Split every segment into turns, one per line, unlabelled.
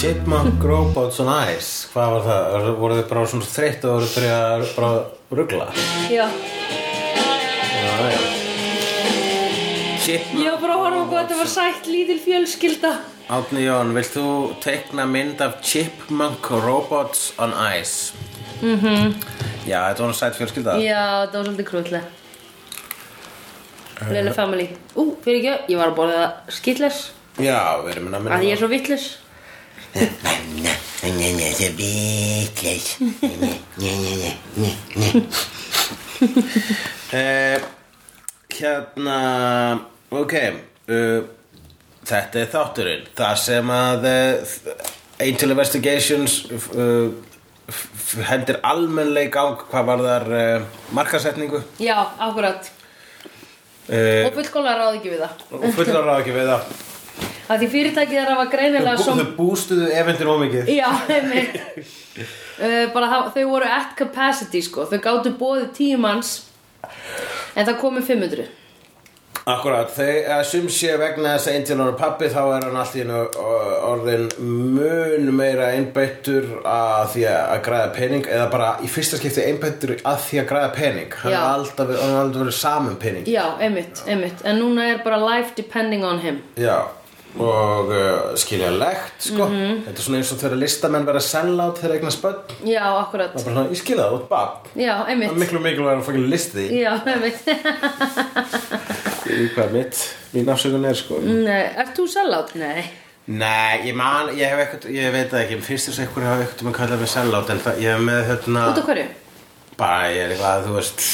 Chipmunk Robots on Ice Hvað var það? Var- Voru þið bara svona þreytt og voru þið að bara ruggla?
Já,
Já, já Chip
ég var bara að horfa á hvað þetta var sætt lítil fjölskylda
Átni Jón, vilt þú tekna mynd af Chipmunk Robots on Ice? Mhm Já, þetta var nú sætt fjölskylda
Já, þetta var svolítið krútlega Lilla family Ú, fyrir ekki, ég var að borða skilles
Já, við erum að minna
að ég er svo vitles
Það er vitleis Hérna Ok uh, Þetta er þátturinn Það sem að uh, Angel Investigations uh, f- f- hendir almennleik á hvað var þar uh, markasetningu
Já, akkurat
uh,
Og fullkóla ráð ekki við það
og fullar á ekki við það
Af því fyrirtækið þeirra var greinilega
Bú-
som...
Þau bústuðu eventin ómikið
Já, einmitt uh, Bara það, þau voru at capacity sko Þau gátu bóðið tíu manns En það komið 500
Akkurat, þau að sum sé vegna þess að Angel og pappi þá er hann allt í einu uh, orðin mun meira einbættur að því að græða pening eða bara í fyrsta skipti einbættur að því að græða pening hann
Já.
er alltaf, hann er alltaf verið saman pening
Já, einmitt, einmitt En núna er bara life depending on him
Já, og uh, skiljanlegt sko þetta er svona eins og þegar listamenn verða sellát þegar eignar spöld
Já, akkurat
bara svona, ég skilja það, þú ert bab
Já,
það er
einmitt
miklu mikilvægur að fangin listi í
Já, einmitt
í hvað mitt, mín afsökun er sko
Nei, Mm, eh, ert þú sellátt? Nei
Nei, ég man, ég hef ekkert, ég veit það ekki, fyrst þess að einhverju hafa ekkert um að kalla mig sellátt en það, ég hef með hérna,
Út af hverju?
bara ég er eitthvað, þú veist,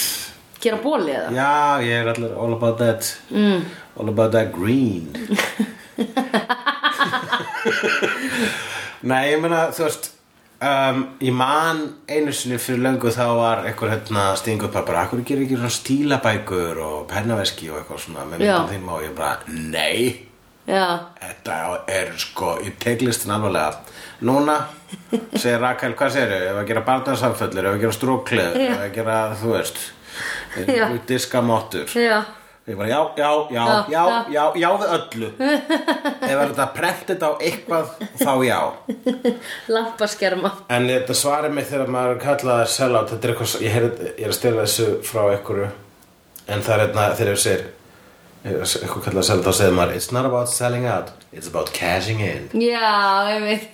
Gera bóli eða?
já, ég er allir all about that, mm. all about that green. Nei, ég meina, þú veist, um, ég man einu sinni fyrir löngu þá var einhver hérna stingu upp að bara, akkur gerir ekki svona stílabækur og pennaveski og eitthvað svona með
Já.
myndum þeim og ég bara, nei,
Já,
Þetta er sko, ég tek listin alvarlega Núna, segir Rakel, hvað segir þau? Ef að gera barnarsamfellur, ef að gera strókleður
Já.
Ef að gera, þú veist
Já.
Diskamottur
já,
Ég bara, já, já, já,
Já,
já,
já.
já, já við öllu Ef er þetta prentið á eitthvað, þá já
lampaskerma
En þetta svarið mitt þegar maður er kallað að selja át, þetta er eitthvað, ég, heyr, ég er að stela þessu frá einhverju, en það er einna, þegar ég segir, eitthvað kallað að selja át, þá segir maður, it's not about selling out, it's about cashing in.
Já, einmitt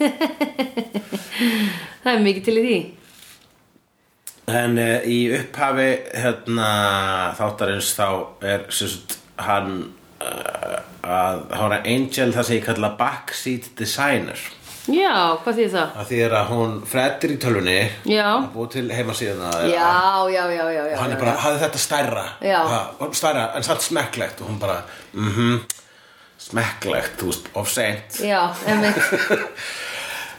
Það er mikið til í því
En uh, í upphafi, hérna, þáttarins, þá er, sérst, hann, uh, að, þá er Angel það sem ég kalla backseat designer.
Já, hvað þýð það?
Það þýðir að hún frettir í tölvunni,
Já,
að búi til heimasíðan að,
já, já, já, já, já
og hann er
já,
bara,
já.
hafði þetta stærra
Já.
ha, stærra, en samt smekklegt og hún bara, mhm smekklegt, þú veist, of seint
Já, einmitt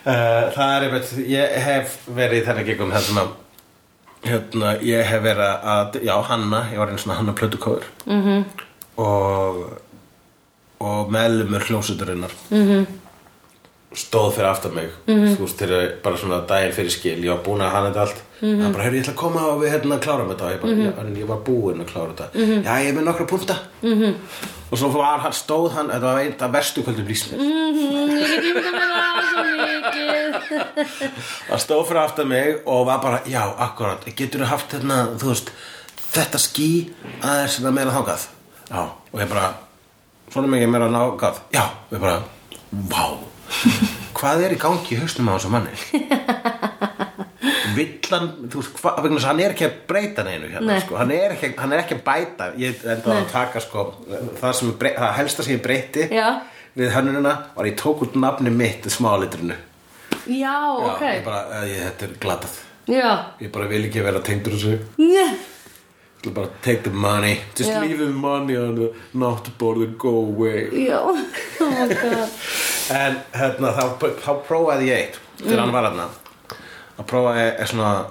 uh, það er einmitt, ég hef verið í þennan gegum þessum að hérna, ég hef verið að já, Hanna, ég var einu svona Hanna plötukóður mm -hmm. og og meðlumur hljósuturinnar mm -hmm. stóð fyrir aftan mig þú veist, þegar bara svona daginn fyrir skil ég var búin að hanna þetta allt hann bara, heyrðu, ég ætla að koma og við hérna klárum þetta og ég bara, mm -hmm. ég var búin að klára þetta já, ég er með nokkra punta mm -hmm. og svo var hann, stóð hann, þetta var einn af verstu kvöldum lísmir
Mm, Ég get ímynda með það svo mikið
Það stóð fyrir aftan mig og var bara, já, akkurat, getur þú haft þarna, þú veist, þetta ský aðeins svona meira þákað? Já, og ég bara, svona mikið meira þákað? Já, og ég bara, vá, hvað er í gangi í hausnum á þessu manni? Vill hann, þú veist, hvað, vegna þess að hann er ekki að breyta neinu hérna,
Nei.
sko, hann er ekki, hann er ekki að bæta, ég enda að taka, sko, það sem, er brey, það helsta sem ég breyti
Já.
við hönnunina var að ég tók út nafni mitt í smálitrinu.
Já,
Já,
ok
ég bara, eh, ég, þetta er glatað
Já
Ég bara vil ekki vera tengdur þessu Ég
Njá
ætla bara að take the money Just
Já.
leave the money on the not border go away
Já, oh my god
En hérna, þá, þá prófaði ég eitt Þegar
Mm.
hann var hann Að prófaði er svona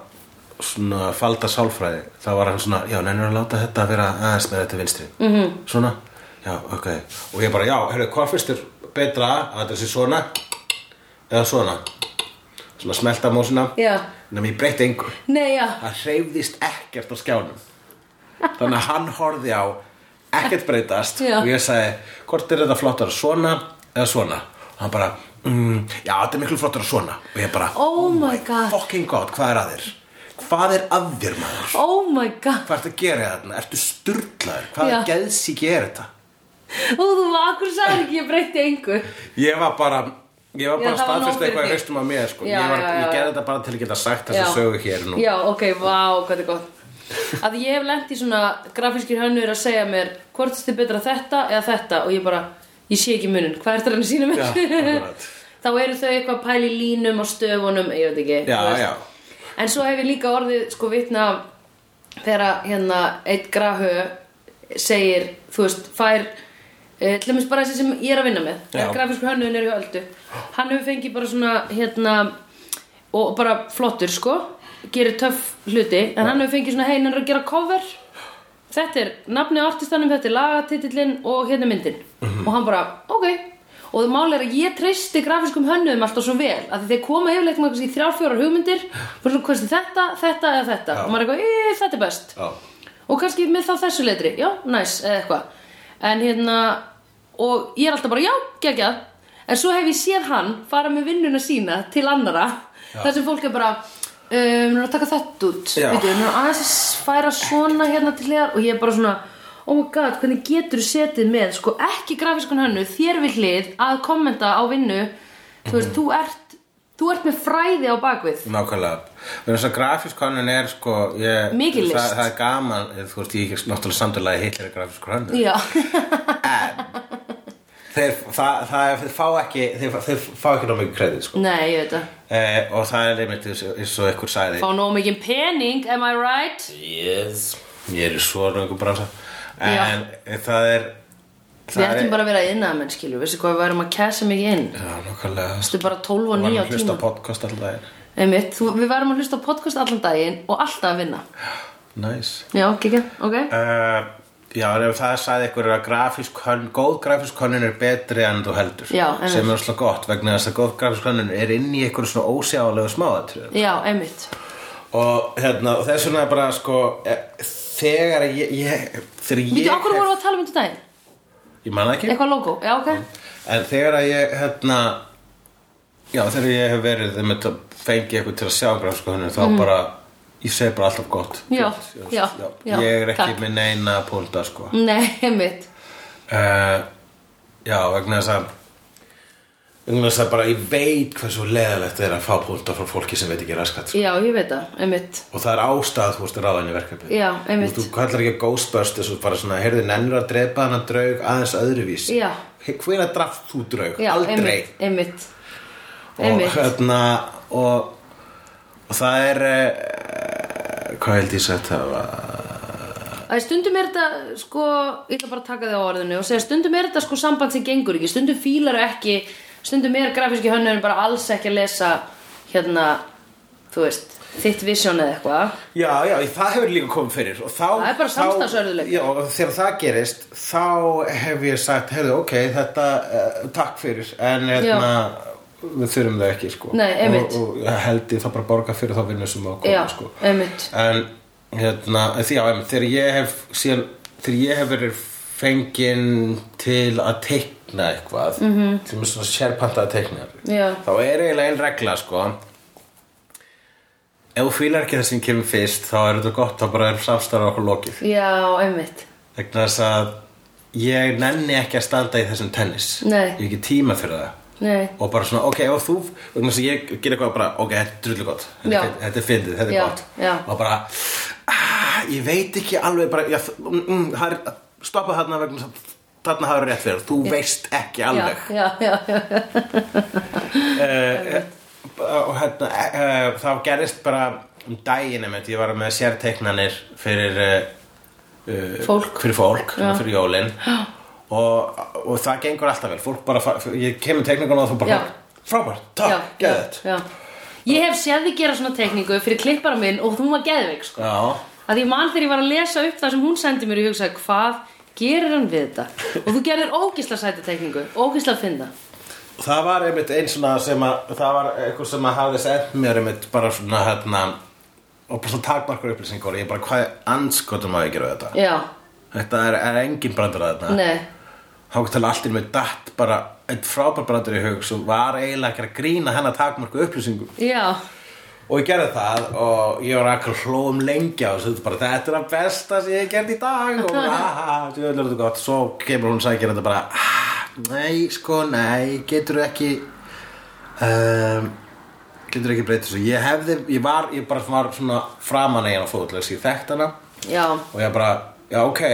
Svona falda sálfræði Þá var hann svona, já, nennir að láta þetta vera aðeins með þetta vinstri
Mhm.
-hmm. Svona, já, ok Og ég bara, já, herrðu, hvað fyrst er betra Að þetta sé svona Eða svona Svona smelta mósina
Já.
Nefnum ég breytti engu
Nei, já
það hreyfðist ekkert á skjánum þannig að hann horfði á ekkert breytast
Já.
og ég sagði hvort er þetta flottar svona eða svona og hann bara mm, já, þetta er miklu flottur að svona og ég bara,
Oh my god
fucking god, hvað er að þér? Hvað er að þér, maður?
Oh my god
Hvað ertu að gera þarna? Ertu sturdlaður? Hvað
Já.
er geðsík ég er þetta?
Og þú var akkur sagði ekki ég breyti engu
Ég var bara, ég var
Já,
bara
það var nóg
staðfyrst
fyrir
eitthvað í
þig.
haustum að mér, sko
Já,
Ég, var,
já, já,
ég
já.
gerði þetta bara til að geta sagt þess
Já.
að sögu hér nú
Já, ok, vá, hvað er gott Að ég hef lent í svona grafískir hönnur að segja mér Hvort er betra þetta eða þetta Og ég bara, ég sé ekki munin Hvað er þetta hann að sína
Já,
mér?
akkurat.
Þá eru þau eitthvað að pæla í línum og stöfunum Ég veit ekki
Já,
þú veist.
já.
En svo hef ég líka orðið sko vitna af Þegar að, hérna eitt grafhö segir Þú veist, fær eh, Til dæmis bara þessi sem ég er að vinna með
Já.
er grafískur hönnun er í höldu Hann hefur fengið bara svona hérna og bara flottur sko gerir töff hluti en hann hefur fengið svona hei, hann er að gera cover þetta er nafnið á artistanum, þetta er lagatitillin og hérna er myndin
Mhm.
og hann bara, ok og það máli er að ég treysti grafiskum hönnum alltaf svo vel að þeir koma yfirleitt með kannski þrjár, fjórar hugmyndir bara svona, hvað er þetta, þetta eða þetta
Já.
og maður er eitthvað, "Eh, þetta er best
Já.
og kannski með þá þessu letri, já, næs eða eitthvað en hérna, og ég er alltaf bara, já, geggjað en svo hef ég séð hann fara með vinnuna sína til annara þar sem fólk er bara um, nú er að taka þetta út
Já.
veitu, nú er aðeins að færa svona hérna til hliðar og ég er bara svona oh my god, hvernig getur þú setið með sko ekki grafiskun hönnu, þér við hlið að kommenta á vinnu þú veist, þú ert þú ert með fræði á bakvið
Nákvæmlega, verður þess að grafísk hönnun er sko ég,
Mikil list.
það, það er gaman, eh, þú veist, ég er ekki náttúrulega samtúrulega heilir grafísk hönnun
já,
þeir, það, það, þeir fá ekki þeir, þeir fá ekki ná mikið kredið sko.
nei, ég veit það
eh, og það er einmitt eins eins og einhver sagði
fá nóg mikið pening, am I right?
yes. ég er í svona einhver bransa
Já.
en eh, það er
Við ættum bara að vera innað menn, skilur, veistu hvað við værum að kæsa mikið inn
já, nákvæmlega
Þú bara 12 og
og
9 á
að hlusta
tíma
á podcast alltaf daginn
Einmitt, þú, Við værum að hlusta á podcast allan daginn og alltaf að vinna
nice
Já, kikja, ok
uh, já, en ef það sagði einhver að grafísk hönn góð grafísk hönnun er betri en þú heldur
Já, einmitt.
sem er slá gott vegna þess að góð grafísk hönnun er inn í einhverjum svona ósjálega smáðatröðum
Já, einmitt
og hérna, og þess vegna er bara sko eh, þegar ég, ég þegar ég
Býtu, okkur vorum við að tala um þetta daginn
ég man það ekki,
Eitthvað logo, já, ok
en þegar að ég hérna já, þegar ég hef verið þeim að fengi eitthvað til að sjá grafsku henni, þá bara ég segi bara alltaf gott
Mhm. Já, já, já,
ég er ekki
takk.
með neina pólda sko
Nei, einmitt
uh, já, vegna þess að vegna þess að bara ég veit hversu leðalegt er að fá pólda frá fólki sem veit ekki raskat sko.
Já, ég veit það, einmitt
og það er ástæð þú veist ráðan í verkefni
Já, einmitt.
þú kallar ekki Ghostbusters og bara svona heyrðu nennur að drepa hana draug aðeins öðruvís
Já.
hver að draf þú draug?
Já,
aldrei
einmitt, einmitt
og
Einmitt,
hérna og, og það er uh, hvað held ég sagt það var
að stundum er þetta sko, ég ætla bara að taka þig á orðinu og segja stundum er þetta sko samband sem gengur ekki stundum fílar ekki, stundum er grafíski hönnurinn bara alls ekki að lesa hérna, þú veist þitt vision eða eitthvað
já, já, það hefur líka komið fyrir og þá,
Það er bara
þá-
samstarfsörðugleiki.
já, og þegar það gerist þá hef ég sagt, heyrðu, ok þetta, uh, takk fyrir en hérna, við þurfum það ekki sko.
Nei, einmitt.
og, og held ég það bara borga fyrir þá vinnu sem á
já,
komið sko.
einmitt
en hérna, því já, einmitt, þegar ég hef síðan, þegar ég hef verið fengin til að teikna eitthvað -hmm. sem er svona sérpantað að teikna
Mhm. Já.
þá er eiginlega ein regla sko ef þú fílar ekki það sem kemur fyrst þá er þetta gott, þá bara er samstarf okkur lokið
já, einmitt,
vegna þess að ég nenni ekki að standa í þessum tennis
Nei.
ég hef ekki tíma fyrir það
nei
og bara svona, ok, og þú vegna þess að ég ger eitthvað bara, ok, þetta er drullu gott
Já.
þetta er- þetta er fyndið, þetta er
Já,
gott
já.
og bara, ah, ég veit ekki alveg bara, já, mm, mm, það er- stoppa þarna vegna þess að þarna hafa rétt fyrir, þú veist ekki
já,
alveg Eh,
já, já, já,
og hérna, uh, þá gerðist bara um daginn, einmitt, ég var með sérteiknanir fyrir uh,
Fólk.
fyrir fólk, svona fyrir jólin og, og það gengur alltaf vel fólk bara, fa- ég kemur teikninguna og þú bara
Já.
frábært,
já,
takk,
já,
geðið
já. ég hef séð þig gera svona tekningu fyrir klippara minn og þú var geðveik sko
Já,
að ég man þegar ég var að lesa upp það sem hún sendi mér og ég hugsaði hvað gerir hann við þetta og þú gerir ógisla sæta tekningu ógisla finna
það var einmitt einn svona sem að það var einhver sem að hafði sent mér einmitt bara svona hérna og bara svona takmarkur upplýsingur ég bara hvað anskotum að ég gera við þetta
já,
þetta er, er engin brandur að þetta
nei
þá til allt í með datt bara eitt frábær brandur í hug sem var eiginlega ekki að grína hennar takmörku upplýsingum
já,
og ég gerði það og ég var akkur hlóðum lengi á þessu þetta er bara þetta er að besta sem ég hef gert í dag og bara, aha, djöfull er þetta gott svo kemur hún og sækir þetta bara "Ah, nei, sko, nei, getur þú ekki um, getur þú ekki breytið svo ég hefði, ég var, ég bara var svona framan eigin á fóðlega, ég þekkt hana
já
og ég bara, já, ok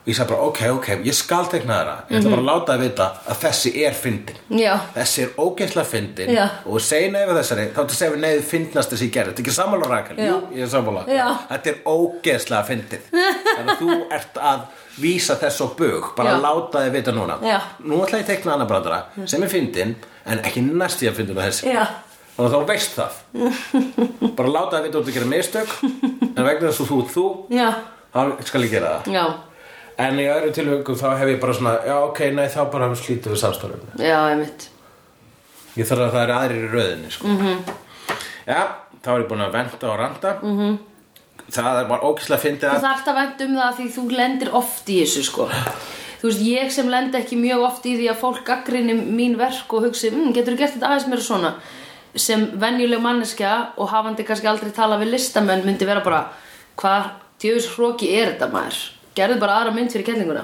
og ég sagði bara, ok, ok, ég skal tekna þeirra ég ætla bara að láta það vita að þessi er fyndin
já,
þessi er ógeðslega fyndin
Já.
og segi neyfi þessari, þá til segir við neyfi fyndnast þessi ég gerði, þetta er ekki sammála rækkan
Já.
jú, ég er sammála,
Já.
þetta er ógeðslega fyndið, þannig að þú ert að vísa þess á bug, bara
Já.
láta þið vita núna
Já.
nú ætla ég að tekna annar brandara sem er fyndin, en ekki næst í að fyndin á þessi
já
þannig að þá veist það bara láta þið vita út að gera mistök en vegna þess að þú ert þú
já,
þá skal ég gera það
já
en í öðru tilvöku þá hef ég bara svona já ok, nei þá bara slítið við samstofum
já, einmitt
Ég þarf að það eru aðrir í rauðinni sko. mm
Mhm.
Já, þá er ég búin að venda og randa mm -hmm. Það var ógislega fyndið
Mhm. þú
að
þarft að vænt um það því þú lendir oft í þessu sko þú veist, ég sem lend ekki mjög oft í því að fólk gaggrinni mín verk og hugsi mm, getur þú gert þetta aðeins meira svona sem venjuleg manneskja og hafandi kannski aldrei talað við listamenn myndi vera bara hvað djöfis hróki er þetta maður gerðu bara aðra mynd fyrir kellinguna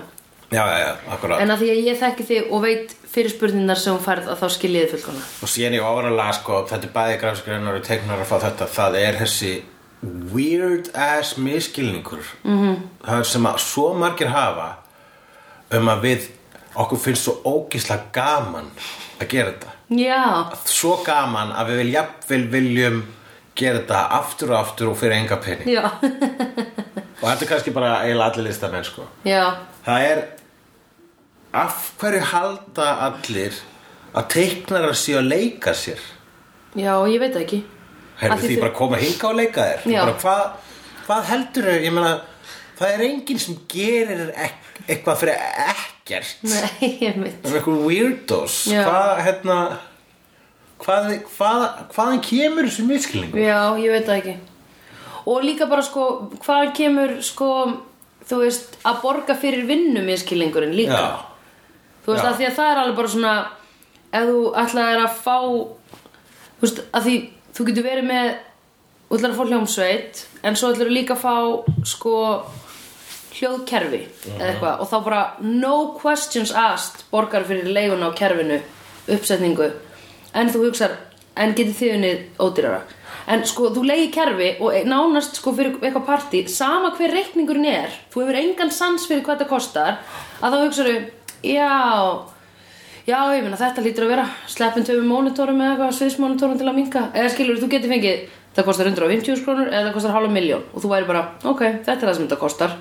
Já, já, já, akkurat
en að því að ég þekki þig og veit fyrirspurningar sem hún færð að þá skil ég þið fullkona
Og síðan ég ofanlega sko, þetta er bæði grafskreinar og teiknar að fá þetta Það er þessi weird ass miskilningur -hmm.
Mhm.
Það er sem að svo margir hafa um að við okkur finnst svo ógislega gaman að gera þetta
já,
Svo gaman að við vil jafnvel viljum gera þetta aftur og aftur og fyrir enga pening
já,
Og þetta er kannski bara eiginlega allir listamenn sko.
já
Það er af hverju halda allir að teiknarar séu að leika sér
já, ég veit það ekki Af
Herðu því,
þau-
bara koma hinga og leika þér
Já.
bara, hvað, hvað heldur þau? Ég meina, það er enginn sem gerir ek eitthvað fyrir ekkert
Nei, ég veit
Það er eitthvað weirdos
Já.
Hvað, hérna hvað, hvað, Hvaðan kemur þessu miskilningu?
Já, ég veit það ekki Og líka bara sko, hvaðan kemur sko, þú veist, að borga fyrir vinnu miskilningurinn líka
Já,
Þú veist,
já.
að því að það er alveg bara svona ef þú ætlaðir að fá þú veist, að því þú getur verið með þú ætlaðir að fá hljómsveit en svo ætlaðir líka að fá sko hljóðkerfi eða eitthvað og þá bara no questions asked borgar fyrir leiguna á kerfinu uppsetningu en þú hugsar en getur þið unnið ódýrara en sko þú leigi kerfi og nánast sko fyrir eitthvað partí sama hver reikningurinn er þú hefur engan sans fyrir hvað þetta kostar að þá hugsaðu já Já, ég meina þetta lítur að vera sleppin töfum monitorum eða eitthvað sviðsmonitorum til að minka eða skilur, þú getur fengið það kostar 150 krónur eða það kostar halva miljón og þú væri bara, ok, þetta er það sem þetta kostar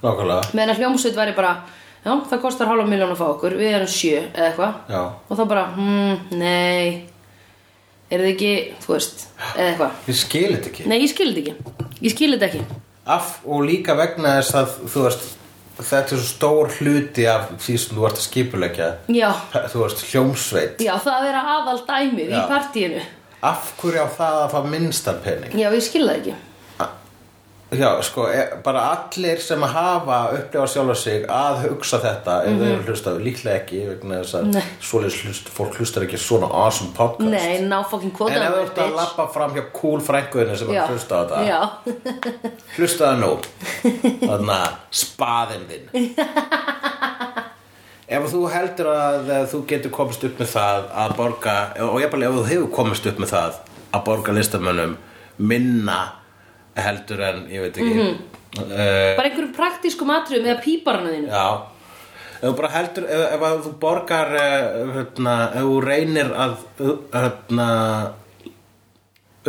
nákvæmlega
meðan að hljómsveit væri bara já, það kostar halva miljón að fá okkur, við erum sjö eða eitthvað
Já.
og þá bara, hmm, nei er þið ekki, þú veist eða eitthvað,
Ég skil þetta ekki
nei, ég skil þetta ekki ég skil þetta ekki,
af og líka vegna þess að þú veist þetta er svo stór hluti af því sem þú ert að skipulegja
já
þú veist hljómsveit
já, það er aðal dæmið í
Já.
partíinu
af hverju á það að fá minnstan pening
já, ég skil það ekki
já sko e- bara allir sem hafa upplifa sjálfa sig að hugsa þetta ef þau eru hlustað líklega ekki vegna þess að
Mhm. Nei.
svoleiðis hlust, fólk hlustar ekki svona awesome podcast
nei, ná fucking
en
kvota
ef þú ert að labba fram hjá cool frænguðinu sem er
Já,
að hlusta á þetta
já.
Hlusta það nú Þannig að spaðin þinn Ef þú heldur að þú getur komist upp með það að borga og ég bara ef þú hefur komist upp með það að borga listamönnum minna heldur en ég veit ekki mm
bara einhverjum praktískum atriðum eða píparana þínu
Já Ef þú bara heldur, ef, ef að þú borgar eh, hérna, ef þú reynir að hérna,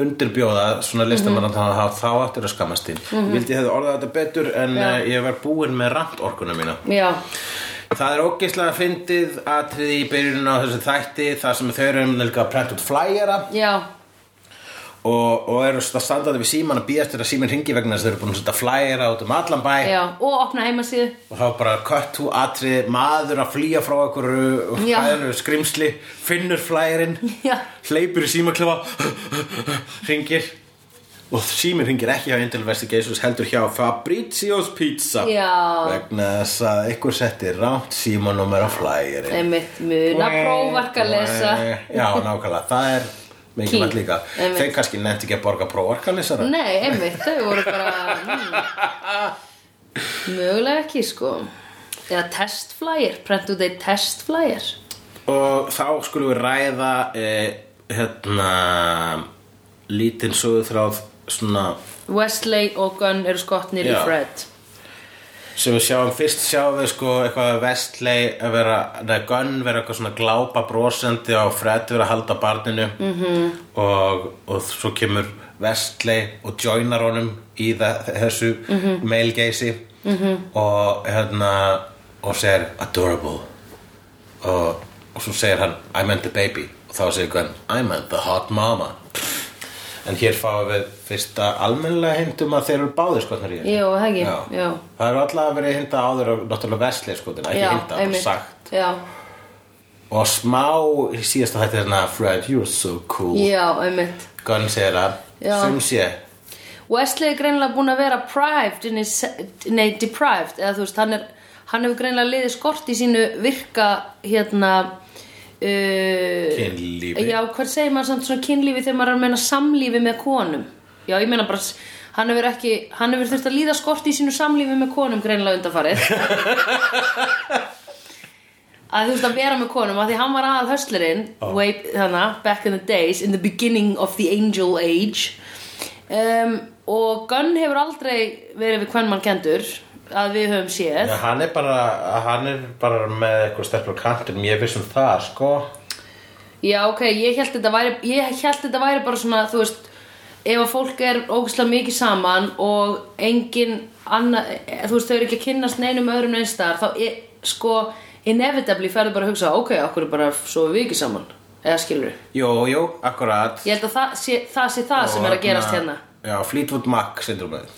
undirbjóða svona
Mhm.
listamann mm -hmm. þá, þá áttur að skammast þín Vildi ég hefði orðað þetta betur en
Já.
eh, ég var búinn með rantorkuna mína
já,
Það er ógeislega fyndið atriði í byrjunum á þessu þætti þar sem þau eru um líka að prenta út flyera
já,
og, og eru svona standandi við síman að býðast þegar síminn ringi vegna þess að þau eru búin að setja flyera út um allan bæ
já og opna heimasíðu
og þá bara kött þú atrið maður að flýja frá einhverju
Já.
fæðinu skrimsli, finnur flærin
Já.
hleypur í símaklefa ringir og símir hringir ekki hjá Indel Investigations heldur hjá Fabrizio's Pizza
Já.
vegna þess að ykkur setti rámt símanúmer á flægirinn
einmitt muna prófark að lesa
Já, nákvæmlega, það er mikilvægt
Key.
líka
Einmitt.
Þeir kannski nefnt ekki að borga prófarkalesara
Nei, einmitt, þau voru bara mm, Mögulega ekki, sko Eða testflyer, prent út þeir testflyer
Og þá skulum við ræða e, hérna lítinn sögutráð svona
Wesley og Gunn eru skotnir í
Já.
Fred
sem við sjáum, fyrst sjáum við sko eitthvað vestlei að vera, neða Gunn vera eitthvað svona glápa brosandi á Fred vera að halda barninu
Mhm.
-hmm. og, og svo kemur vestlei og joinar honum í það, þessu mm
Mhm.
-hmm. male geysi -hmm. og hérna og segir adorable og, og svo segir hann I meant the baby og þá segir Gunn I meant the hot mama en hér fáum við fyrsta almennlega hindum að þeir eru báðir skotnar í þessu.
Jú, það ekki,
Já.
já.
Það eru alltaf verið hinda áður og náttúrulega vesli sko, þetta er
Já,
ekki hinda, bara
einmitt.
sagt
Já,
Og smá í síðasta þetta er hérna Fred, you're so cool
já, einmitt
Gunn segir að,
Já.
sem sé
Wesley er greinilega búin að vera prived inni, nei, deprived eða þú veist, hann, er, hann hefur greinilega liðið skort í sínu virka hérna uh,
Kynlífi.
já, hvað segir maður samt svona kynlífi þegar maður er að meina samlífi með konum já, ég meina bara s- hann hefur, ekki, hann hefur þurft að líða skort í sínu samlífi með konum greinilega undanfarið að þú veist að vera með konum að því hann var aðal höslerinn way, hana, back in the days, in the beginning of the angel age um, og Gunn hefur aldrei verið við hvern mann kendur að við höfum séð
ja, Hann er bara, hann er bara með eitthvað stelpur á kantinum, ég viss um það sko
já ok, ég held þetta væri, ég held þetta væri bara svona þú veist, ef að fólk er ógæslega mikið saman og engin anna, eh, þú veist þau eru ekki að kynnast neinum öðrum einstar þá er, sko, inevitably ferðu bara að hugsa ok, okkur er bara svo við ekki saman eða skilur
Jú, jú, akkurat
Ég held að það sé það, sé það sem er að gerast hérna.
Já, Fleetwood Mac syndromið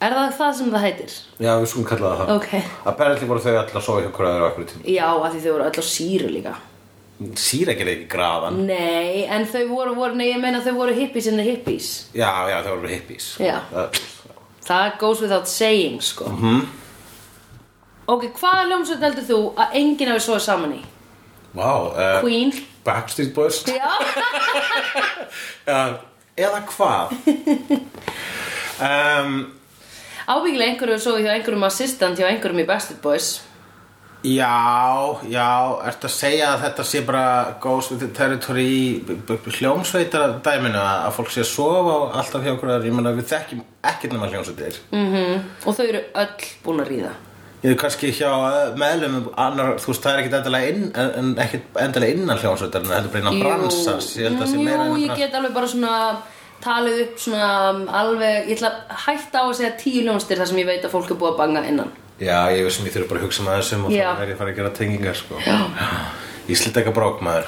Er það það sem það heitir?
Já, við skulum kalla það það
Ok.
Apparently voru þau alltaf að sofa hjá hverjaður á okkur tíma
Já, af því þau voru öll á síru líka.
Sýra gerði ekki graðan
Nei, en þau voru, voru nei, ég meina þau voru hippies en þau hippies.
Já, já, þau voru hippies
Mm.
Uh,
Já.
Það-
Það goes without saying, sko.
Mhm.
Ok, hvaða hljómsveit heldur þú að enginn hefur svoðið saman í?
Vá, eh,
Queen?
Backstreet Boys
Já.
Já, Uh, eða hvað um,
Ábyggilega einhverju hefur svoðið hjá einhverjum assistant hjá einhverjum í Bastard Boys.
Já, já, ertu að segja að þetta sé bara goes with the territory í b- b- hljómsveitar dæminu að að fólk sé að sofa og alltaf hjá okkur að ég meina við þekkjum ekkert nema hljómsveitir
Mhm. Og þau eru öll búin að ríða.
Ég er kannski hjá eh, meðlum annar, þú veist, það er ekkert endilega, inn, en- en, ekkert endilega innan hljómsveitar en þetta er bara innan bransans ég held að sé
Jú,
meira innan
ég
bransans
get alveg bara svona talið upp svona um, alveg, ég ætla að hætta á að segja tíu ljónstir þar sem ég veit að fólk er búið að banga innan
Já, ég veist sem ég þurfi bara að hugsa maður þessum og
Já.
það er ég að fara að gera tengingar sko. Ég slitt ekki að brók maður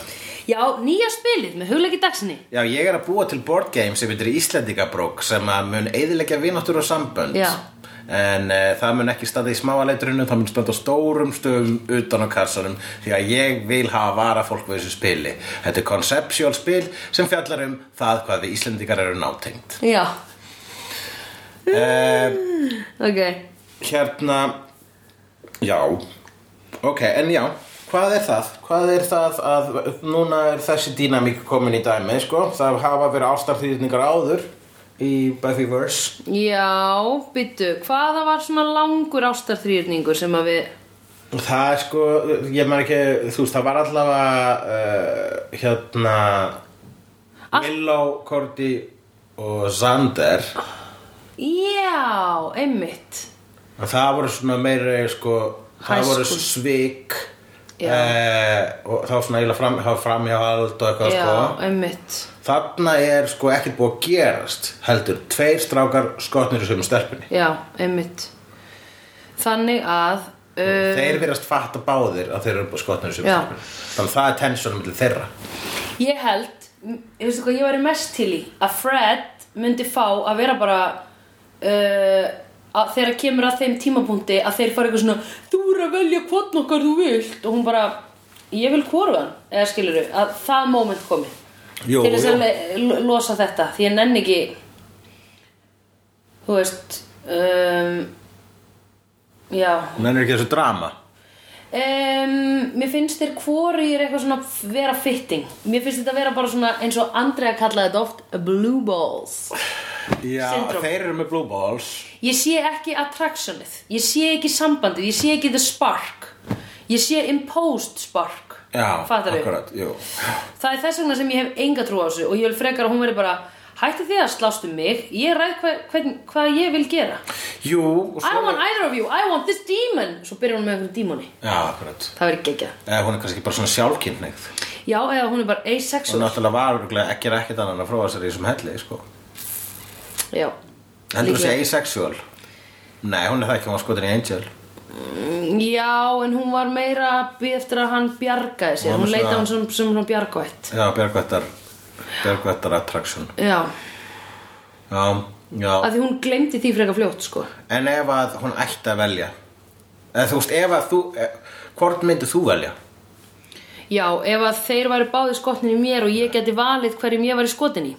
Já, nýja spilið með hugleiki dagsinni
Já, ég er að búa til board game sem heitir Íslendingabrók sem að mun eðilegja vináttur og sambönd
Já.
en uh, það mun ekki staða í smáaleiturinu það mun standa á stórum stöfum utan á kassanum því að ég vil hafa vara fólk við þessu spili þetta er conceptual spil sem fjallar um það hvað við Íslendingar eru nátengt
Já,
uh,
ok
Hérna Já Ok, en já, hvað er það? Hvað er það að núna er þessi dýnamík komin í dæmi, sko? Það hafa verið ástarþýðningar áður í Buffyverse
Já, byttu, hvaða var svona langur ástarþrýrningur sem að við
Og það er sko, ég maður ekki, þú veist, það var allavega uh, hérna
Allt-
Willow, Cordy og Xander
Já, einmitt
Og það voru svona meira sko,
High
það voru
school.
svik
Já.
eh, og það var svona eiginlega fram, það var framhjáhald og eitthvað
Já,
sko
einmitt
Þarna er sko ekkert búið að gerast heldur, tveir strákar skotnir í sömu stelpunni.
Já, einmitt Þannig að uh,
Þeir verðast fatta báðir að þeir eru skotnir í sömu
Já.
stelpunni. Þannig að það er tensionum millir þeirra.
Ég held, m- ég veistu hvað ég væri mest til í að Fred myndi fá að vera bara uh, að þegar kemur að þeim tímapunkti að þeir fara eitthvað svona þú er að velja hvort nokkar þú vilt og hún bara, ég vil hvorfa hann eða skilur að það moment komi
Jú,
til þess
jú.
að le- lo- losa þetta því ég nenni ekki þú veist um, já
Nennir ekki þessu drama
um, mér finnst þér hvori er eitthvað svona vera fitting mér finnst þetta vera bara svona eins og Andrea kallaði þetta oft blue balls
Já,
Syndrome.
þeir eru með blue balls
ég sé ekki attractionið ég sé ekki sambandið, ég sé ekki the spark ég sé imposed spark
Já,
Fattar við?
akkurat, jú
það er þess vegna sem ég hef enga trú á þessu og ég vil frekar að hún veri bara hætti því að slást um mig, ég ræð hvað hva, hva ég vil gera
Jú, og
I
svo
don't want either of you, I want this demon svo byrjar hún með einhverjum dímoni
Já, akkurat
það verður geggjað
Eða hún er kannski bara svona sjálfkynneigð
já, eða hún er bara
Og
asexual
náttúrulega var örugglega ekki ekkert annan að fróa sér í þessum helli, sko
já,
Heldur þú sé
Líklega.
asexual? Nei, hún er það ekki, hún var skotin í Angel
já, en hún var meira að bíða eftir að hann bjargaði sér
Hún
hún
var
leita
svona-
hann sem, sem hún bjargvætt
Já, Björgvættar Björgvættar attraction
já,
Já, já
að því hún glemdi því frekar fljótt sko
En ef að hún ætti að velja Eða þú veist, ef að þú eh, Hvort myndir þú velja?
já, ef að þeir væri báði skotnin í mér og ég geti valið hverjum ég væri skotin í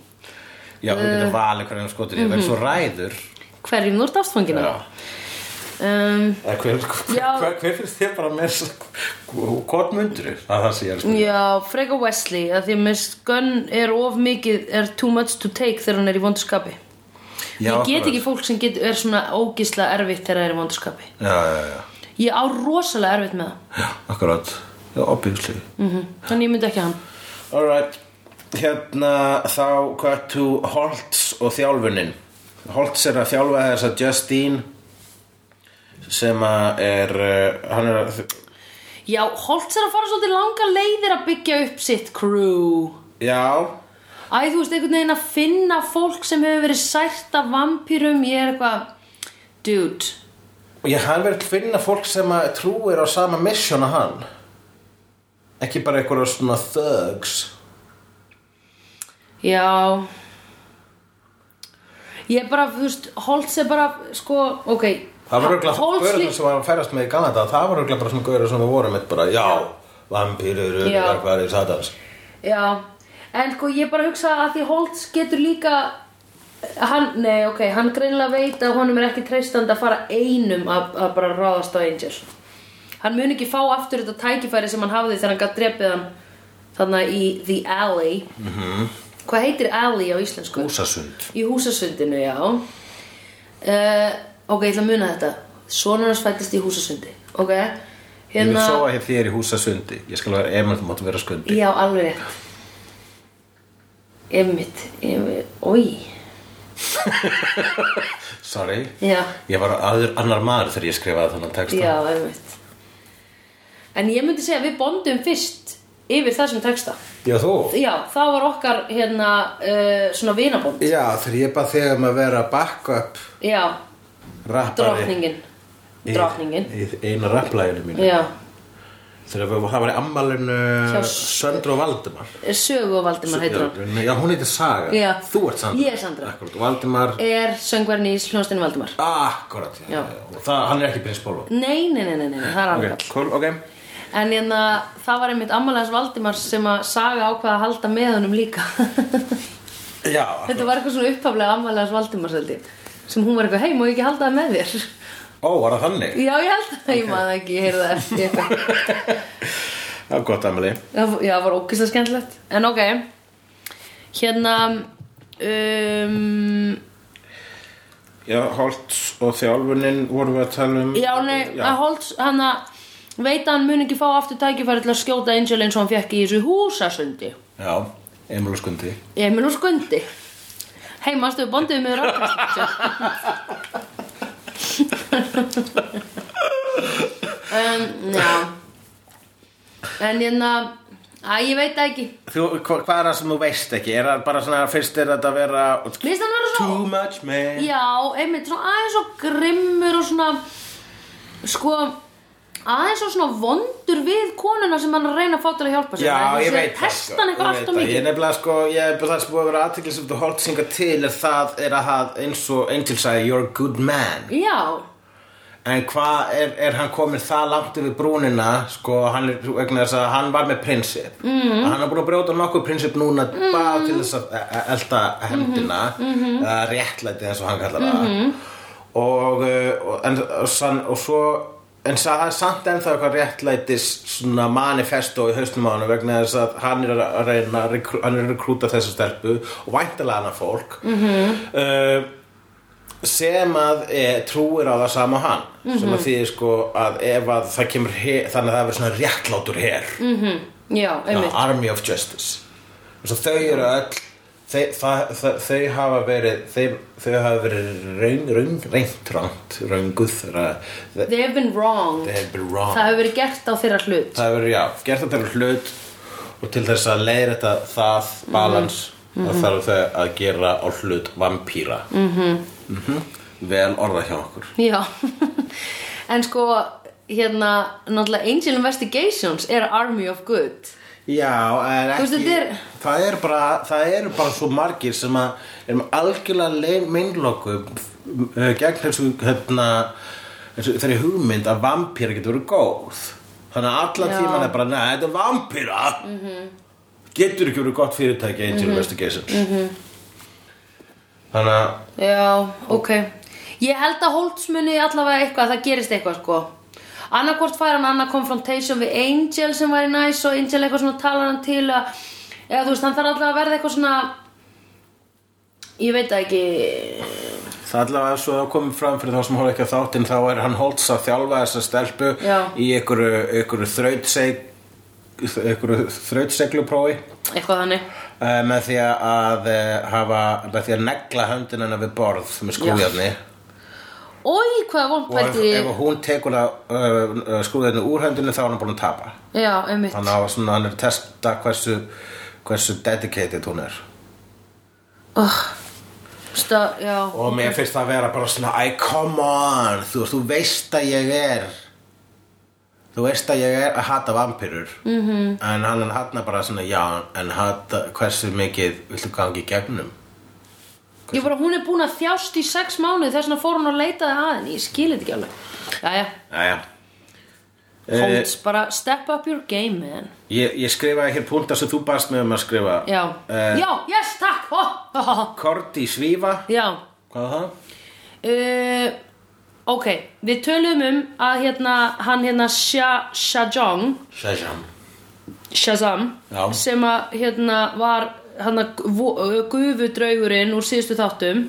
Já, þú
Eh.
getur valið hverjum skotir í mm -hmm. Þú
Mhm.
ræður
hverjum þú ert ástfangin af. um,
Eða Hver, hver,
Já.
hver, hver finnst þér bara með Hvort myndir þú? Að það sé ég sko.
Já, freka Wesley að því að með skönn er of mikið er too much to take þegar hann er í vondurskapi
Já,
Ég get
akkurat.
ekki fólk sem get, er svona ógisla erfitt þegar það er í vondurskapi
Já, já, já,
Ég á rosalega erfitt með það
já Akkurat Já, obviously
-hmm. Þannig ég myndi ekki hann
Alright Hérna þá hvað to Holtz og þjálfunin Holtz er að þjálfa þess að Justine sem að er uh, hann er að
Já, Holtz er að fara svolítið langa leiðir að byggja upp sitt crew
já,
Æ, þú veist, einhvern veginn að finna fólk sem hefur verið sært af vampýrum Ég er eitthvað Dude,
ég hann verið að finna fólk sem að trúir á sama mission að hann ekki bara einhverja svona thugs
Já Ég er bara, þú veist, Holtz er bara, sko, ok
það var auðvitað
Holtz lí-
gaurður sem var að ferast með í gana þetta það var auðvitað bara svona gaurður sem við vorum eitt bara já, vampýrur,
Já.
verkværi, satans
Já, en sko, ég er bara að hugsa að því Holtz getur líka Hann, nei, ok, hann greinlega veit að honum er ekki treystandi að fara einum að, að bara ráðast á Angel Hann mun ekki fá aftur þetta tækifæri sem hann hafði þegar hann gat drepið hann Þannig í The Alley
Mhm.
-hmm. Hvað heitir Alley á íslensku?
húsasund
Í húsasundinu, já uh, Ok, ég ætla að muna þetta Sonur hans fættist í húsasundi Ok,
Ég vil
hérna
sofa hér þér í húsasundi. Ég skal vera ef maður þú máttu vera skundi.
Já, alveg rétt Einmitt, einmitt Ói,
Sorry.
já,
Ég var aður annar maður þegar ég skrifaði þannig texta.
já, einmitt En ég myndi segja að við bondum fyrst yfir þessum texta
Já, þú?
Já, það var okkar hérna uh, svona vinabond
Já, þegar ég bað þig um að vera backup
Já,
rappari.
drottningin Drottningin
Í, í eina rapplæðinu mínu.
Já,
Þegar við, það var í ammalinu
Hjá-
Söndru og Valdimar.
sögu og Valdimar heitir hann
Já, hún heitir Saga.
Já.
Þú ert Sandra.
Ég er Sandra.
Akkurat, og Valdimar.
Er söngvarinn í hljónstinu Valdimar
Akkurat, já.
Já.
Og það, hann er ekki prins Bólo.
Nei, nei, nei, nei, nei, það er alveg okay.
cool, ok.
En hérna, það var einmitt ammálaðis Valdimars sem að saga ákvaða að halda með honum líka
Já,
Þetta var eitthvað svona upphaflega ammálaðis Valdimars held ég sem hún var eitthvað, hei, má ég ekki halda það með þér?
ó, var það þannig?
Já, ég held það, ég maður ekki, ég heyrði það eftir eitthvað
Það var gott, Amelie.
Það- Já, það var ókvæslega skemmtilegt En ok, hérna, um,
Já, Holtz og þjálfunin vorum við að tala um
já, nei, að Holtz, hann að veit að hann mun ekki fá aftur tækifæri til að skjóta Angel eins og hann fekk í þessu húsasundi
Já, Emil og Skundi
Emil og Skundi Hei, manstu við bondum með ráttast um, Já En hérna Æ, ég veit það ekki
Þú, hva, Hvað er það sem þú veist ekki? Er það bara svona, fyrst er þetta að vera
Mér finnst hann vera svo
Too much man
Já, einmitt svona aðeins og grimmur og svona Sko aðeins og svona vondur við konuna sem hann er að reyna að fá til að hjálpa sér
Já,
Þessi
ég veit sko.
Testa hann
Ég
eitthvað
veit
allt og
það. Ég
mikið
er nefnilega sko, ég er bara það sem búið að vera aðtekli sem þú Holtz hinga til er það er að það eins og Angel sagði, you're a good man
Já,
en hvað er, er hann komin það langt yfir brúnina sko, hann, er, vegna þess að hann var með prinsip mm. hann er búin að brjóta nokkuð prinsip núna bara til þess að e- e- elta hefndina eða réttlæti þess að hann kallar það og, eh, og, en, og, sann- og svo en sa- það er samt ennþá eitthvað réttlætis svona manifesto í haustum á hann vegna þess að hann er að reyna að rekrú- hann er að rekrúta þessa stelpu og væntalega hana fólk -hmm. uh, sem að e, trúir á það sama og hann sem að því sko að ef að það kemur her, þannig að það verður svona réttlátur her mm
já, einmitt
Army of Justice og svo þau eru öll þau, það, það, þau hafa verið þau, þau hafa verið raung, raung, reynt ránt, raunguð það
They have been wrong
They have been wrong.
Það hefur verið gert á þeirra hlut
það verður, já, gert þetta er hlut og til þess að leiðir þetta það balans, þá þarf þau að gera á hlut vampíra mm -hmm. vel orða hjá okkur
Já En sko, hérna Náttúrulega Angel Investigations er Army of Good
Já, en ekki
veist, þetta er-
það, er bara, það eru bara svo margir sem að erum algjörlega meinlokku gegn þessu hérna, þessu- þeirri hugmynd að vampýra getur verið góð þannig að alla
Já. Mhm.
tíman er bara neða, þetta er vampýra getur ekki verið gott fyrirtæki Angel Investigations
Mhm.
þannig að
Já, ok Ég held að Holtz muni allavega eitthvað Það gerist eitthvað sko Annarkvort fær hann annað confrontation við Angel sem væri næs og Angel eitthvað svona talar hann til að eða þú veist, hann þarf allavega að verða eitthvað svona ég veit það ekki
Það er allavega svo að komið fram fyrir þá sem horfði ekki að þáttinn þá er hann Holtz að þjálfa þessa stelpu
Já.
í einhverju, einhverju þrautseg einhverju þrautsegluprófi
eitthvað þannig
uh, með því að uh, hafa, með því að negla höndin hennar við borð með skrújarni
Ói, hvað vond
og ef,
pælti
ef hún tekur það uh, skrújarni úr höndinu þá er hann búin að tapa
Já, einmitt
þannig að svona, hann er að testa hversu, hversu dedicated hún er
Sta, já,
og mér finnst það að vera bara svona æ, come on, þú, veist, þú veist að ég er þú veist að ég er að hata vampirur -hmm.
Mhm.
en hann hatna bara svona já, en hata hversu mikið viltu gangi í gegnum
ég bara, hún er búin að þjást í sex mánuð þess vegna fór hún að leita það að henni ég skil þetta ekki alveg Jæja,
Jæja Eh,
Holtz, bara step up your game, man
ég, ég skrifaði hér púnta sem þú baðst með um að skrifa
Já,
Eh,
já, yes, takk oh, oh, oh.
Korti svífa
Já,
hvað er það?
uh, ok, við tölum um að hérna, hann hérna Sha, Shajong,
Shazam
Shazam,
Já.
sem að hérna var hérna gufudraugurinn úr síðustu þáttum,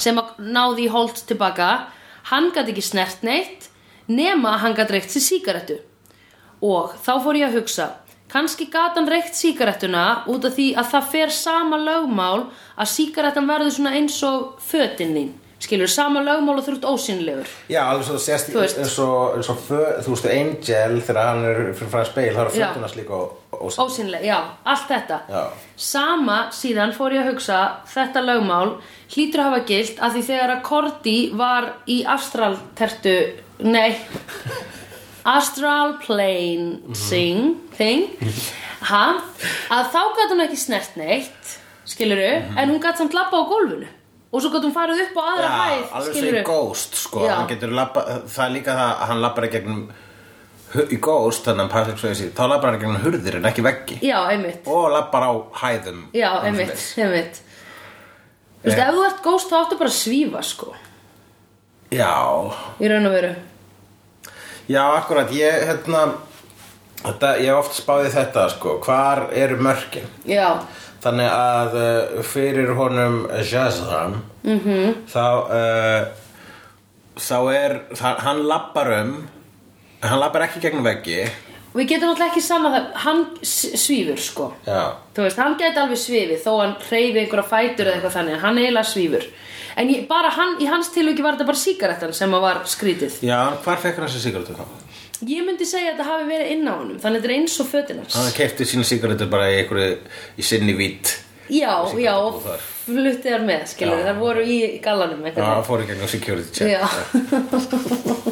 sem að náði í Holt tilbaka, hann gat ekki snert neitt, nema að hann gat reykt sér sígarettu. Og þá fór ég að hugsa, kannski gat hann reykt sígarettuna út af því að það fer sama lögmál að sígarettan verður svona eins og fötin þín. Skilur, sama lögmál og þú ert ósynlegur.
Já, alveg svo það sést
Þú veist.
eins og, eins og fö, þú veist, Angel þegar hann er fyrir frá speil, það er
Já.
fötunas líka og, og,
Ósynleg, já, allt þetta
Já.
Sama síðan fór ég að hugsa þetta lögmál hlýtur að hafa gilt að því þegar að Korti var í astraltertu nei astral plane
Mhm.
sing, thing ha, að þá gat hún ekki snert neitt skiluru,
Mhm.
en hún gat samt labba á gólfinu og svo gat hún farið upp á aðra hæð
alveg svo
skilurðu.
í Ghost sko,
Já.
hann getur labba, það er líka það að hann labbar í gegnum hu- í Ghost, þannig að Patrick Swayze þá labbar hann í gegnum hurðir en ekki veggi
já, einmitt
og labbar á hæðum
Já,
og
einmitt,
svoleiðis.
einmitt Þú
Eh.
veist, ef þú ert ghost þá áttu bara að svífa, sko
Já,
Í raun og veru
já, akkurat, ég hérna þetta, ég hef oft spáði þetta sko, hvar eru mörkin
Já,
þannig að uh, fyrir honum Shazam -hmm.
Mhm.
þá uh, þá er, það, hann labbar um en hann labbar ekki í gegnum veggi
við getum alltaf ekki saman það Hann s- svífur, sko
Já
Þú veist, hann gæti alveg svífið þó hann hreyfi einhverja fætur eða eitthvað þannig Hann eiginlega svífur En ég, bara hann, í hans tilviki var þetta bara sígarettan sem að var skrítið
Já, hvar fekk hann þessi sigartu þá?
Ég myndi segja að þetta hafi verið inn á honum Þannig að þetta er eins og fötinans
Hann kefti sína sigarettur bara í einhverju, í sinni vít
Já, já,
og
og
þar. Ah,
fluttið þar með, skilur Þar voru í gallanum
Já,
eitthvað
hann fór í gegnum security check
Já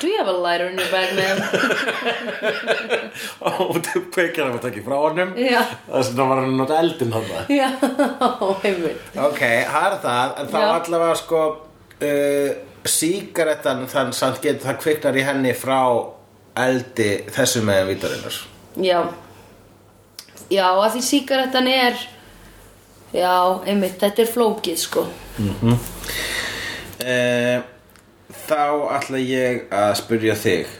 Do you have a lighter in your bag, ma'am?
Og það kveikjar hann að taka frá honum
Já.
Þess vegna var hann að nota eldin hann
Já, heimil
Ok, það er það, en þá
Já.
allavega sko uh, sígarettan þann samt getur það kviknar í henni frá eldi þessu meðan vítarinnar
Já Já, að því sígarettan er Já, einmitt, þetta er flókið sko
e, þá ætla ég að spyrja þig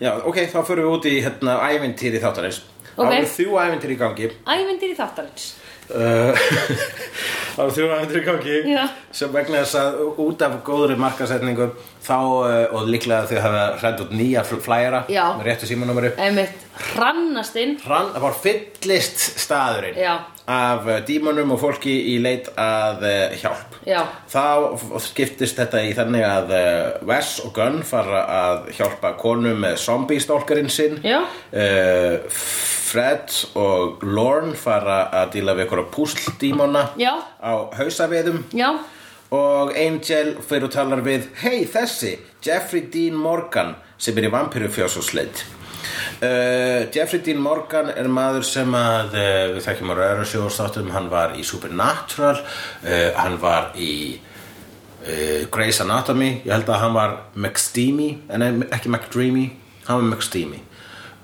já, ok, þá förum við út í hérna ævintýri þáttarins
Ok.
það eru þrjú ævintýri í gangi
Ævindir í þáttarins
Eh, Það var þjóðan andri gangi
Já.
sem vegna þess að út af góðri markasetningu þá eh, og líklega þau hafa hrætt út nýja fl- flæjara
Já.
með réttu símanúmeri
Einmitt, hrannastinn
Rann, það var fyllist staðurinn
Já.
af eh, dímonum og fólki í leit að eh, hjálp
Já,
Þá f- skiptist þetta í þannig að eh, Wes og Gunn fara að hjálpa konu með zombie-stólkarinn sinn
Já.
Eh, Fred og Lorne fara að díla við einhverja púsldímona
Já.
á hausaveðum
já,
og Angel fyrir og talar við hei þessi, Jeffrey Dean Morgan sem er í vampiru fjósúsleit Uh, Jeffrey Dean Morgan er maður sem að uh, við þekkjum á ræður sjóðstáttum hann var í Supernatural uh, hann var í uh, Grey's Anatomy ég held að hann var McSteamy en nei, ekki McDreamy, hann var McSteamy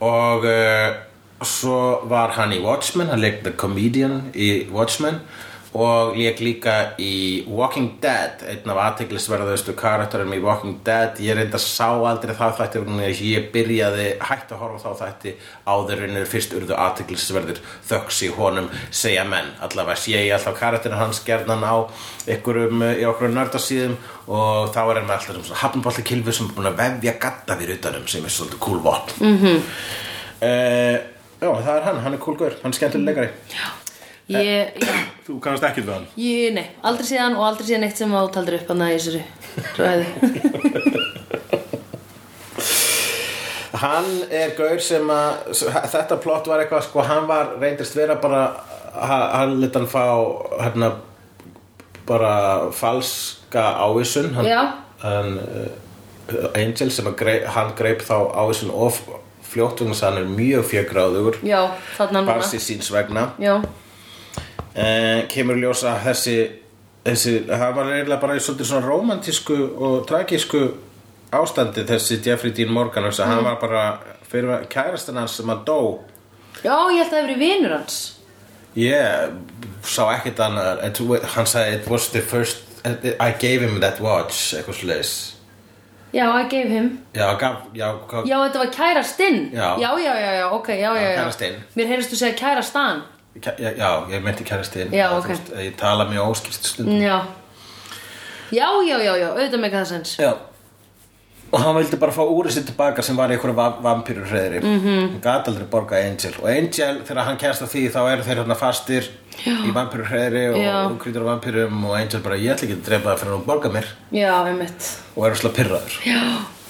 og uh, svo var hann í Watchmen hann leik The Comedian í Watchmen og leik líka í Walking Dead einn af aðteglisverðustu karakterum í Walking Dead ég reynda sá aldrei það þætti vegna þess að ég byrjaði hætt að horfa á þá þætti áðurinnur fyrst urðu aðteglisverður þöks í honum segja menn allavega sé ég alltaf karakterin hans gerðan á einhverjum eh, í okkur nördasíðum og þá er hann með alltaf svona hafnbólta kilfi sem er búin að vefja gatta við utanum um, sem er svolítið cool vopn mm já það er hann, hann er cool gaur, hann er skemmtileg leikari
ég, já
þú kannast ekki við hann
Ég, nei, aldrei síðan og aldrei síðan eitt sem átaldur upp hann að þessari ræðu.
hann er gaur sem að s- þetta plott var eitthvað sko hann var reyndist vera bara ha- hann lit hann fá hérna bara falska ávísun hann,
Já.
hann uh, Angel sem að greip, hann greip þá ávísun of fljótt vegna þess að hann er mjög fjögráðugur
Já, þarna núna.
barsi síns vegna
Já,
eh, kemur í ljós að þessi, þessi það var eiginlega bara í svolítið svona romantísku og tragísku ástandi þessi Jeffrey Dean Morgan þess að
Mm.
hann var bara fyrir kærastan hans sem að dó
já, ég held að það hefur vinur hans.
ég sá ekkert annað It wa- hann sagði it was the first I gave him that watch eitthvað sliðis
Já, I gave him.
já, gaf, já, gaf,
Já, þetta var kærastinn.
Já.
já, já, já, já, ok, já, já, já.
kærastinn.
Mér heyrðist þú segja kærastan.
já, já, ég meinti kærastin
Já,
Þú
ok.
veist, ég tala mjög óskipt stundum
Já. Já, já, já, já, auðvitað með það sens.
Já Og hann vildi bara fá úrið sér tilbaka sem var í einhverju va vampýru hreðri mm
Mhm.
-hmm. Hann gat aldrei borga Angel Og Angel, þegar hann kæst af því, þá eru þeir hérna fastir Já. Í vampýru hreðri
Já.
og krýtur á vampýrum Og Angel bara, ég ætla ekki að drepa það fyrir hún borga mér
Já, einmitt.
Og er slá pyrraður Já,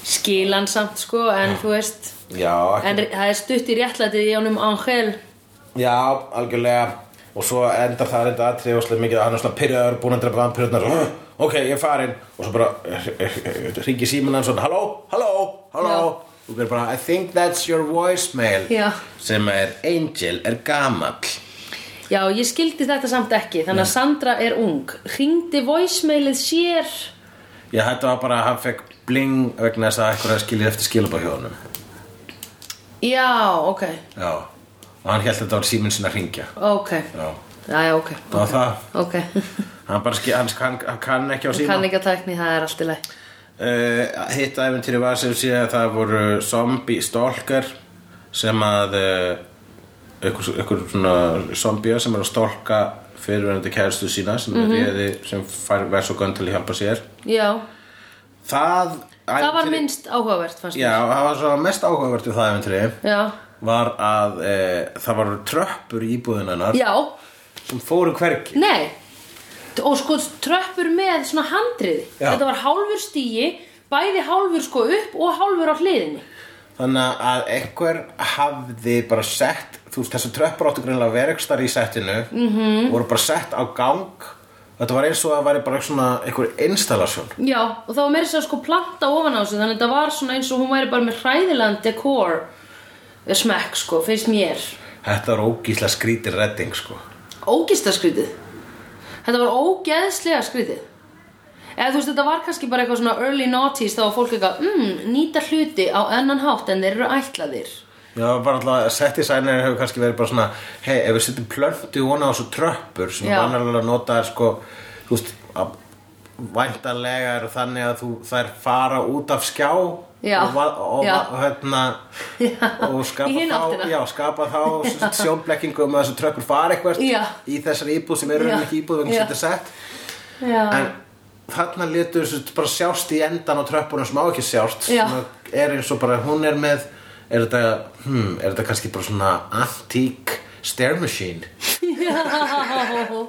Skilan samt, sko, en þú veist,
ekki,
en það er stutt í réttlætið í honum Angel.
Já algjörlega Og svo endar það reynda aðtrið og slið mikið að Hann er slá pyrraður, búin að drepa vampýrunar Ok, ég er farin Og svo bara eh, ringi síminn hann svona Halló, halló, halló Þú verður bara, I think that's your voicemail
Já.
sem er Angel er gamall
Já, ég skildi þetta samt ekki, þannig að Sandra er ung. Ringdi voicemailið sér...
ég hætti að bara að hann fekk bling vegna þess að eitthvað skilir eftir skilabá hjá honum
Já, ok,
já og hann held að þetta var síminn sinna að ringja
ok
já
Já, já, ok,
það var það
ok
hann bara skil, hann, hann, hann kann ekki á síma
Kann ekki að tækni, það er allt í læg
uh, hitt æfintýri var sem sé að það voru zombie stalker sem að uh, einhver, einhver svona zombie sem er að stalka fyrirverandi kæristu sína sem
Mhm.
mm réði sem fær verð svo gönn til að hjálpa sér
Já,
það
það var
ævintýri-
minnst áhugavert, fannst
Já, það var svo mest áhugavert við það eventri
mér Já,
var að e, það var tröppur í íbúðunarnar
já,
sem fóru hvergi
nei Og sko, tröppur með svona handriði
Já.
Þetta var hálfur stíi, bæði hálfur sko upp og hálfur á hliðinni
þannig að einhver hafði bara sett þú veist þessu tröppur áttu greinlega verkstar í settinu -hmm. voru bara sett á gang þetta var eins og að væri bara svona einhver installasjón
Já, og það var meira sér sko planta ofan á þessu Þannig að þetta var svona eins og hún væri bara með hræðilegan dekor Smekk sko, finnst mér
þetta var ógísla skrítir redding sko
ógista skrítið þetta var ógeðslega skrítið eða þú veist þetta var kannski bara eitthvað svona early noughties þá var fólk eitthvað, mm, nýta hluti á ennan hátt en þeir eru ætlaðir
Já, bara alltaf að set designer hefur kannski verið bara svona hei, ef við setjum plöntu vona á svo tröppur sem
Já.
vanalega nota sko, þú veist að væntanlega eru þannig að þú þær fara út af skjá
Já.
og, va- og,
Já.
og hérna og
Í
skapa
hina
þá,
áttina.
já, skapa þá sem sagt, sjónblekkingu um að þessu tröppur fara eitthvað
Já.
í þessari íbúð sem eru
Já.
ekki íbúð vegna
Já.
setja sett
Já,
en þarna letur þessu bara sjást í endan á tröppunum sem á ekki sjást
Já.
sem er eins og bara hún er með er þetta, hmm, er þetta kannski bara svona antík stair machine
já.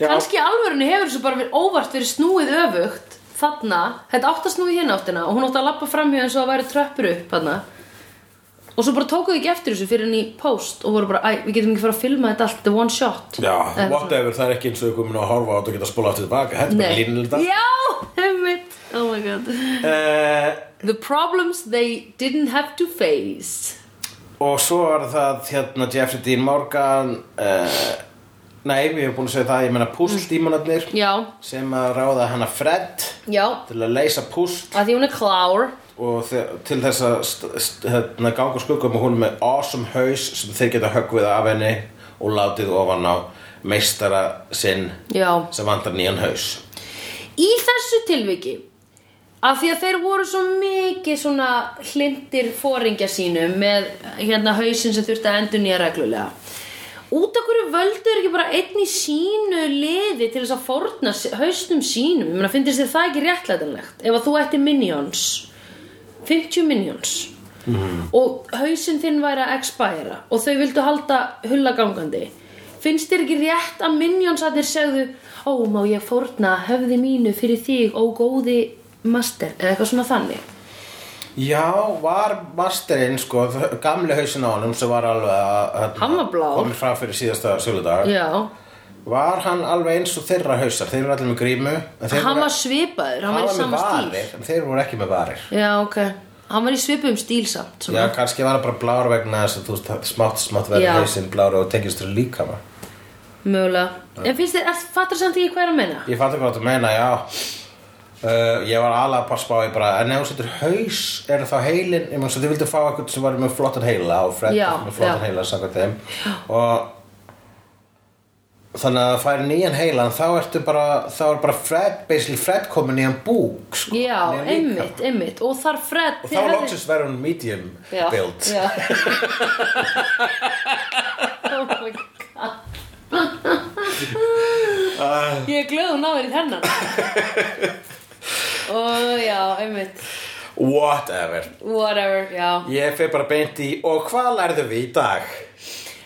Já.
kannski í alvörunni hefur þessu bara verið óvart verið snúið öfugt þarna, þetta átt að snúið hérna áttina og hún átt að lappa framhjá eins og það væri tröppur upp þarna og svo bara tókuðu ekki eftir þessu fyrir henni í post og voru bara, æ, við getum ekki fara að filma þetta allt the one shot Eða eitthvað
whatever, það er ekki eins og við komin að horfa á þetta og geta spóla aftur tilbaka, þetta
Nei. Já, heimitt Oh my god
Eh,
The problems they didn't have to face
og svo er það hérna Jeffrey Dean Morgan uh, nei, við erum búin að segja það ég meina púsldímanarnir
Já,
sem að ráða hana Fred
já
til að leysa púsl
að því hún er klár
og þe- til þess að st- st- hérna, ganga úr skuggum og hún er með awesome haus sem þeir geta höggvið af henni og látið ofan á meistara sinn
Já
sem vantar nýjan haus
Í þessu tilviki af því að þeir voru svo mikið svona hlindir fóringja sínum með hérna hausinn sem þurfti að endur nýja reglulega út af hverju völdu er ekki bara einn í sínu liði til þess að forna s- hausnum sínum ég meina, finnst þér það ekki réttlætanlegt ef að þú ætti minions 50 minions og hausinn þinn væri að expæra og þau vildu halda hulla gangandi finnst þér ekki rétt að minjónsatnir segðu ó má ég fórna höfði mínu fyrir þig ó góði master eða eitthvað svona þannig
Já, var masterinn sko, þ- gamli hausinn á honum sem var alveg að hérna,
Hann var blár.
komin frá fyrir síðasta söludag
já,
var hann alveg eins og þeirra hausar þeir eru allir með grímu en þeir
hann
voru-
var svipaður hann
hann
var í
var með
sama stíl
varir en þeir voru ekki með varir
já ok, hann var í svipum stíl samt
Já,
svona.
kannski var það bara blár vegna þess að þú veist, smátt, smátt verður
Já.
hausinn blár og tekist þér líkama
mögulega en finnst þér, fattur samt ekki hvað er að meina
Ég fatt ekki hvað þú meina, já uh, Ég var alveg að passa á ég bara En ef hún setur haus, er þá heilin Ég mjög svo þið vildu fá eitthvað sem var með flottan heila Og Fred
Já,
var með flottan
já.
heila Sannkvæmt þeim Og Þannig að það færi nýjan heilan Þá ertu bara, þá er bara Fred Basically Fred komin í hann búk sko,
já,
nýjan líkama.
einmitt, einmitt og þar Fred
Og þá loksins verður hún medium
Já,
build
já. oh my god Ég er glöð hún náður í þennan Og já, einmitt
Whatever
Whatever, já
Ég fer bara beint í Og hvað lærðum við í dag?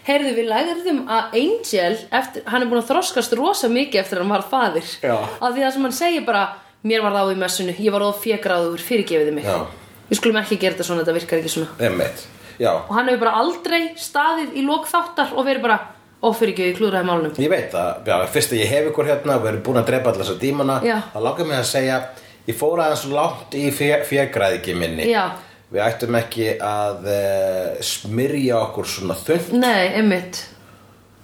Heyrðu, við lægðum að Angel eftir, Hann er búin að þroskast rosa mikið eftir að hann var faðir
Já.
Af því það sem hann segir bara Mér var ráð í messunu, ég var ráð fjögráður Fyrirgefiði mig
Já.
Við skulum ekki gera þetta svona, þetta virkar ekki svona
Einmitt Já,
Og hann hefur bara aldrei staðið í lok þáttar Og verið bara, ó fyrirgefið, ég klúðraði málunum
Ég veit það, já, fyrst að ég hef ykkur hérna og við erum búin að drepa allar þessar dímana
Já.
þá langar mig að segja, ég fór aðeins langt í fjegræðiki minni
Já.
Við ættum ekki að uh, smyrja okkur svona þunn
Nei, einmitt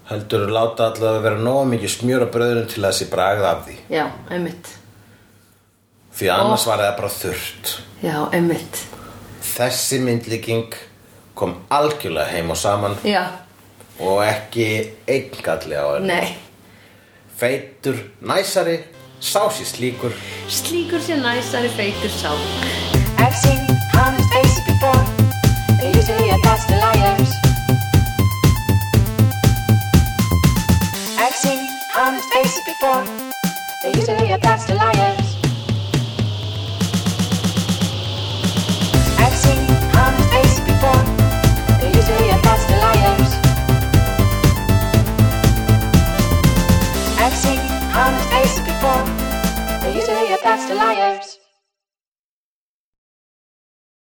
heldur að láta allar að vera nóg mikið smjör á bröðunum til að þessi bragð af því
Já, einmitt
því að annars var það bara þurrt
Já, einmitt
Þessi myndlíking kom algjörlega heim og saman
Já,
og ekki eingalli á henni
nei
Feitur, næsari, sási slíkur
Slíkur sér næsari feitur sá
I've seen honest faces before. They're usually a pass to liars. I've seen honest faces before. They're usually a pass to liars. I've seen honest faces before. They're usually a pass to liars. I've seen